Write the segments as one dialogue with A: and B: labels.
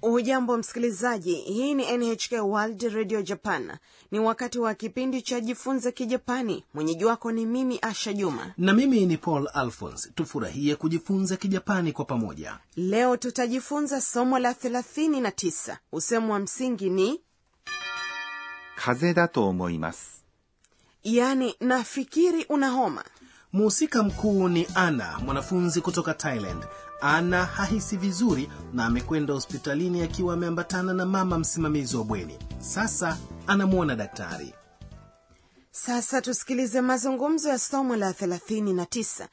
A: Hujambo msikilizaji, hii ni NHK World Radio Japan. Ni wakati wa kipindi cha jifunze Kijapani. Mwenyeji wako ni mimi Asha Juma.
B: na mimi ni paul alphons tufurahie kujifunza kijapani kwa pamoja
A: Leo tutajifunza somo la 39. Usemo wa msingi ni
C: 風邪だと思います。
A: yaani, nafikiri una homa.
B: muhusika mkuu ni ana mwanafunzi kutoka thailand ana hahisi vizuri na amekwenda hospitalini akiwa ameambatana na mama msimamizi wa bweni sasa anamwona daktari
A: Sasa tusikilize mazungumzo ya somo la 39.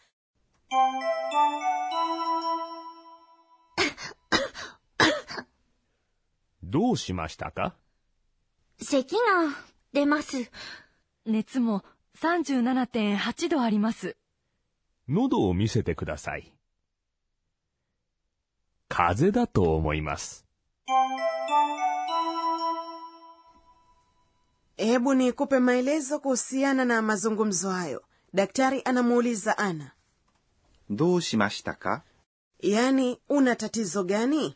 D: どうしましたか
E: 咳が出ます。
F: 熱も37.8度あります。
D: 喉を見せてください。風邪だと思います。
A: Hebu nikupe maelezo kuhusiana na mazungumzo hayo. Daktari anamuuliza Ana,
C: どうしましたか
A: yaani una tatizo gani?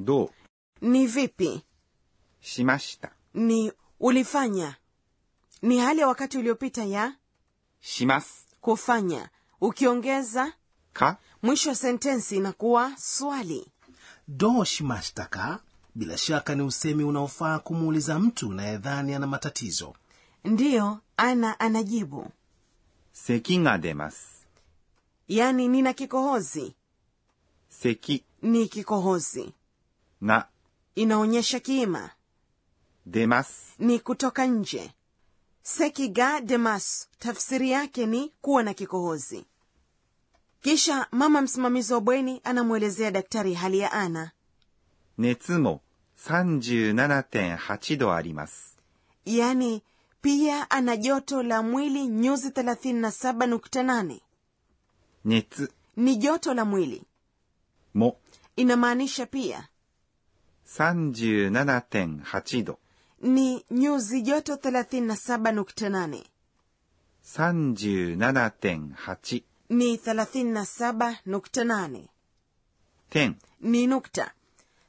C: どう
A: Ni vipi?
C: しました。
A: Ni ulifanya. Ni hali ya wakati uliopita ya
C: します。
A: kufanya. Ukiongeza
C: か
A: mwisho wa sentensi inakuwa swali.
B: doshmashtaka bila shaka ni usemi unaofaa kumuuliza mtu nayedhani ana matatizo
A: Ndiyo, Ana anajibu,
C: 咳が出ます。
A: yaani nina kikohozi.
C: 咳
A: Ni kikohozi
C: が
A: inaonyesha kiima,
C: 出ます。
A: ni kutoka nje. Sekiga demas tafsiri yake ni kuwa na kikohozi. Kisha mama msimamizi wa bweni anamwelezea daktari hali ya Ana.
C: 熱も37.8度あります。
A: yaani pia ana joto la mwili nyuzi 37.8
C: 熱
A: ni joto la mwili
C: も
A: inamaanisha pia
C: 37.8度。
A: ni nyuzi joto 37.8
C: 37.8
A: ni 37.8
C: 点
A: ni nukta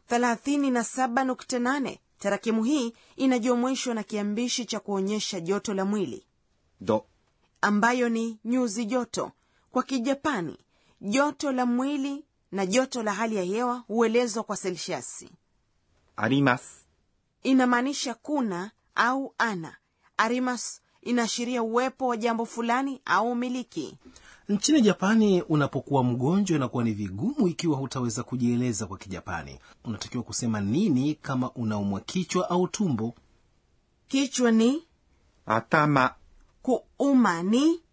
A: 37.8 tarakimu hii inajumuishwa na kiambishi cha kuonyesha joto la mwili
C: 度
A: ambayo ni nyuzi joto. Kwa Kijapani, joto la mwili na joto la hali ya hewa huelezwa kwa selsiasi.
C: あります。
A: Inamaanisha kuna au ana. Arimas inaashiria uwepo wa jambo fulani au umiliki.
B: Nchini Japani, unapokuwa mgonjwa inakuwa ni vigumu ikiwa hutaweza kujieleza kwa Kijapani. Unatakiwa kusema nini kama unaumwa kichwa au tumbo?
A: Kichwa ni
C: 頭
A: kuuma ni.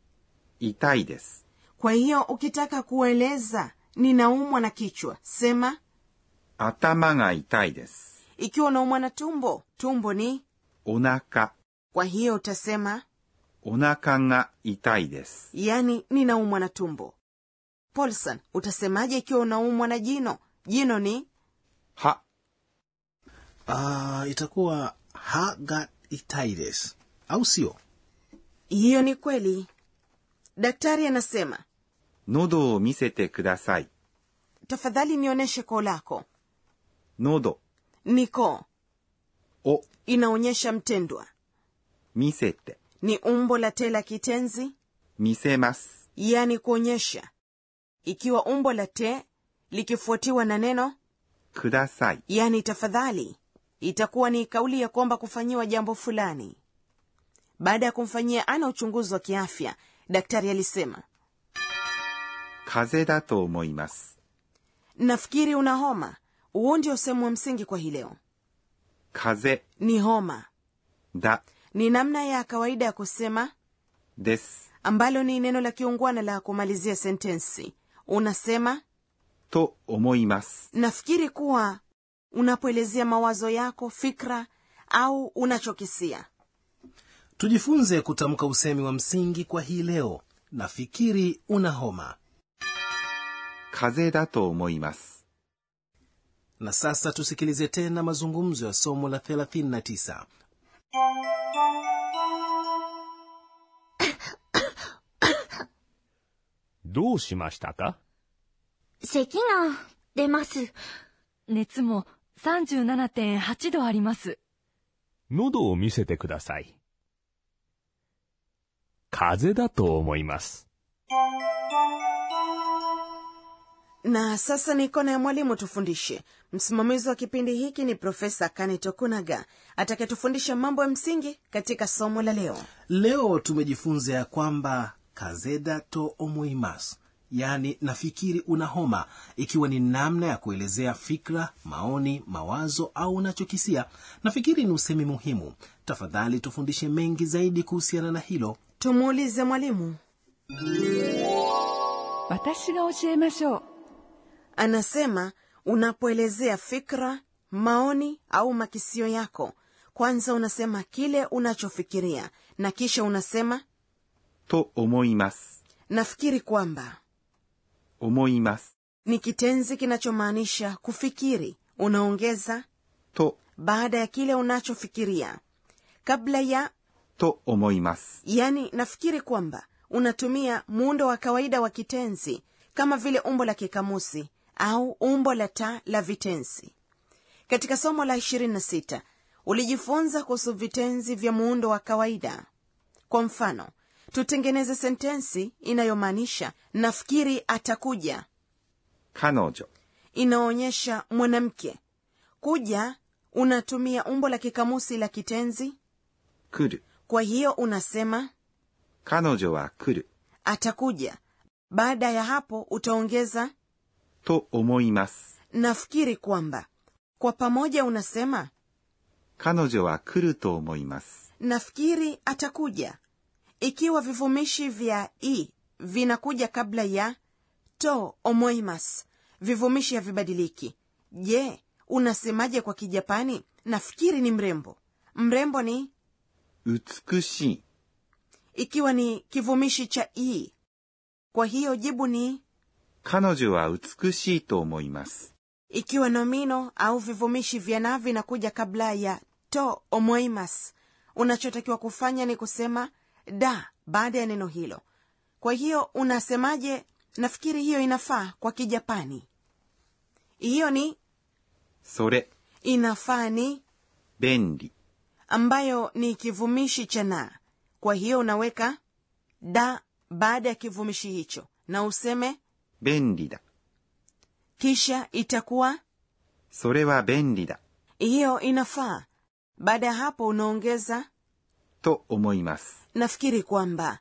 C: 痛いです。
A: Kwa hiyo ukitaka kueleza ninaumwa na kichwa, sema
C: 頭が痛いです。
A: ikiwa unaumwa na tumbo, tumbo ni.
C: お腹、
A: Kwa hiyo utasema
C: お腹が痛いです。
A: yaani ninaumwa na tumbo. Paulson, utasemaje ikiwa unaumwa na jino? Jino ni
C: は、
B: Ah, itakuwa ha ga itai desu, au sio?
A: hiyo. Ni kweli. Daktari anasema,
C: 喉を見せてください。
A: tafadhali nionyeshe koo lako.
C: 喉
A: Ni koo,
C: を
A: inaonyesha mtendwa,
C: 見せて、
A: ni umbo la te la kitenzi,
C: 見せます。
A: yaani kuonyesha. Ikiwa umbo la te likifuatiwa na neno
C: ください。
A: yaani tafadhali, itakuwa ni kauli ya kwamba kufanyiwa jambo fulani. Baada ya kumfanyia Ana uchunguzi wa kiafya, daktari alisema,
C: 風邪だと思います。
A: nafikiri una homa. Huo ndio usehemu wa msingi kwa hii leo.
C: 風
A: Ni homa
C: だ
A: ni namna ya kawaida ya kusema,
C: です。
A: ambalo ni neno la kiungwana la kumalizia sentensi. Unasema
C: と思います。
A: nafikiri kuwa unapoelezea mawazo yako, fikra au unachokisia.
B: Tujifunze kutamka usemi wa msingi kwa hii leo. Nafikiri una homa.
C: 風邪だと思います。
B: Na sasa tusikilize tena mazungumzo ya somo la 39.
D: どうしましたか
E: 咳が出ます。
F: 熱も37.8度あります。
D: 喉を見せてください。風邪だと思います。
A: na sasa ni kona ya mwalimu tufundishe msimamizi wa kipindi hiki ni profesa kane tokunaga atakayetufundisha mambo ya msingi katika somo la leo
B: leo tumejifunza ya kwamba kazeda to omoimas yaani nafikiri una homa ikiwa ni namna ya kuelezea fikra maoni mawazo au unachokisia nafikiri ni usemi muhimu tafadhali tufundishe mengi zaidi kuhusiana na hilo
A: tumuulize mwalimu
F: 私が教えましょう。
A: anasema unapoelezea fikra maoni au makisio yako kwanza unasema kile unachofikiria na kisha unasema
C: と思います。
A: nafikiri kwamba
C: 思います。
A: ni kitenzi kinachomaanisha kufikiri unaongeza
C: と、
A: baada ya kile unachofikiria kabla ya
C: と思います。
A: yani Yaani, nafikiri kwamba unatumia muundo wa kawaida wa kitenzi kama vile umbo la kikamusi au umbo la taa la vitenzi katika somo la 26 ulijifunza kuhusu vitenzi vya muundo wa kawaida kwa mfano tutengeneze sentensi inayomaanisha nafikiri atakuja
C: 彼女、
A: inaonyesha mwanamke kuja unatumia umbo la kikamusi la kitenzi
C: 来る。
A: kwa hiyo unasema
C: 彼女は来る。
A: atakuja baada ya hapo utaongeza
C: と思います。
A: nafikiri kwamba kwa pamoja unasema
C: 彼女は来ると思います。
A: nafikiri atakuja ikiwa vivumishi vya i vinakuja kabla ya to omoimas vivumishi havibadiliki je unasemaje kwa kijapani nafikiri ni mrembo mrembo ni
C: 美しい。
A: ikiwa ni kivumishi cha i kwa hiyo jibu ni
C: 彼女は美しいと思います。
A: ikiwa nomino au vivumishi vya na vinakuja kabla ya to omoimas unachotakiwa kufanya ni kusema da baada ya neno hilo kwa hiyo unasemaje nafikiri hiyo inafaa kwa kijapani hiyo ni
C: それ、
A: inafaa ni
C: 便利。
A: ambayo ni kivumishi cha na kwa hiyo unaweka da baada ya kivumishi hicho na useme
C: 便利だ。
A: kisha itakuwa
C: それは便利だ。
A: hiyo inafaa baada ya hapo unaongeza
C: と思います。
A: nafikiri kwamba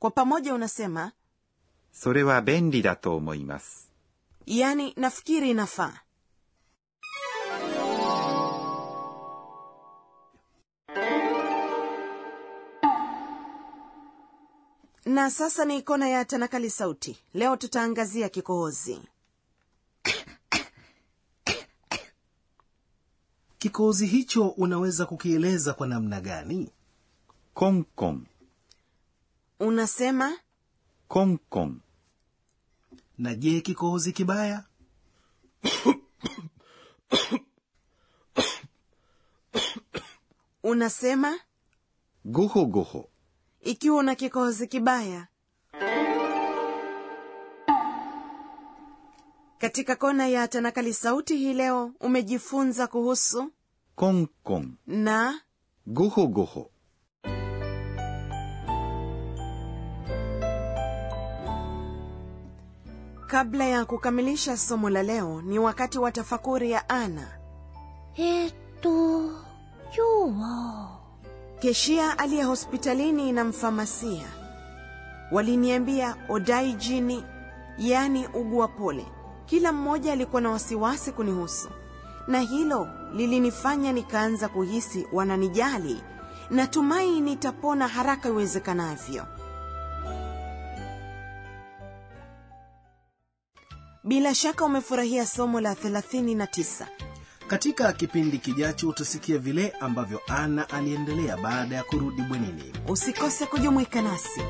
A: kwa pamoja unasema
C: それは便利だと思います。
A: yani nafikiri inafaa na sasa ni kona ya tanakali sauti leo tutaangazia kikohozi
B: kikohozi hicho unaweza kukieleza kwa namna gani
C: コンコン、
A: unasema
C: コンコン、
B: na je kikohozi kibaya
A: unasema
C: ごほごほ、
A: ikiwa una kikohozi kibaya katika kona ya tanakali sauti hii leo umejifunza kuhusu
C: コンコン、
A: na
C: ごほごほ。
A: kabla ya kukamilisha somo la leo ni wakati wa tafakuri ya ana
E: えーっと、今日は、
A: keshia aliye hospitalini na mfamasia waliniambia odai jini yaani ugua pole kila mmoja alikuwa na wasiwasi kunihusu na hilo lilinifanya nikaanza kuhisi wananijali natumai nitapona haraka iwezekanavyo bila shaka umefurahia somo la 39
B: katika kipindi kijacho utasikia vile ambavyo ana aliendelea baada ya kurudi bwenini
A: usikose kujumuika nasi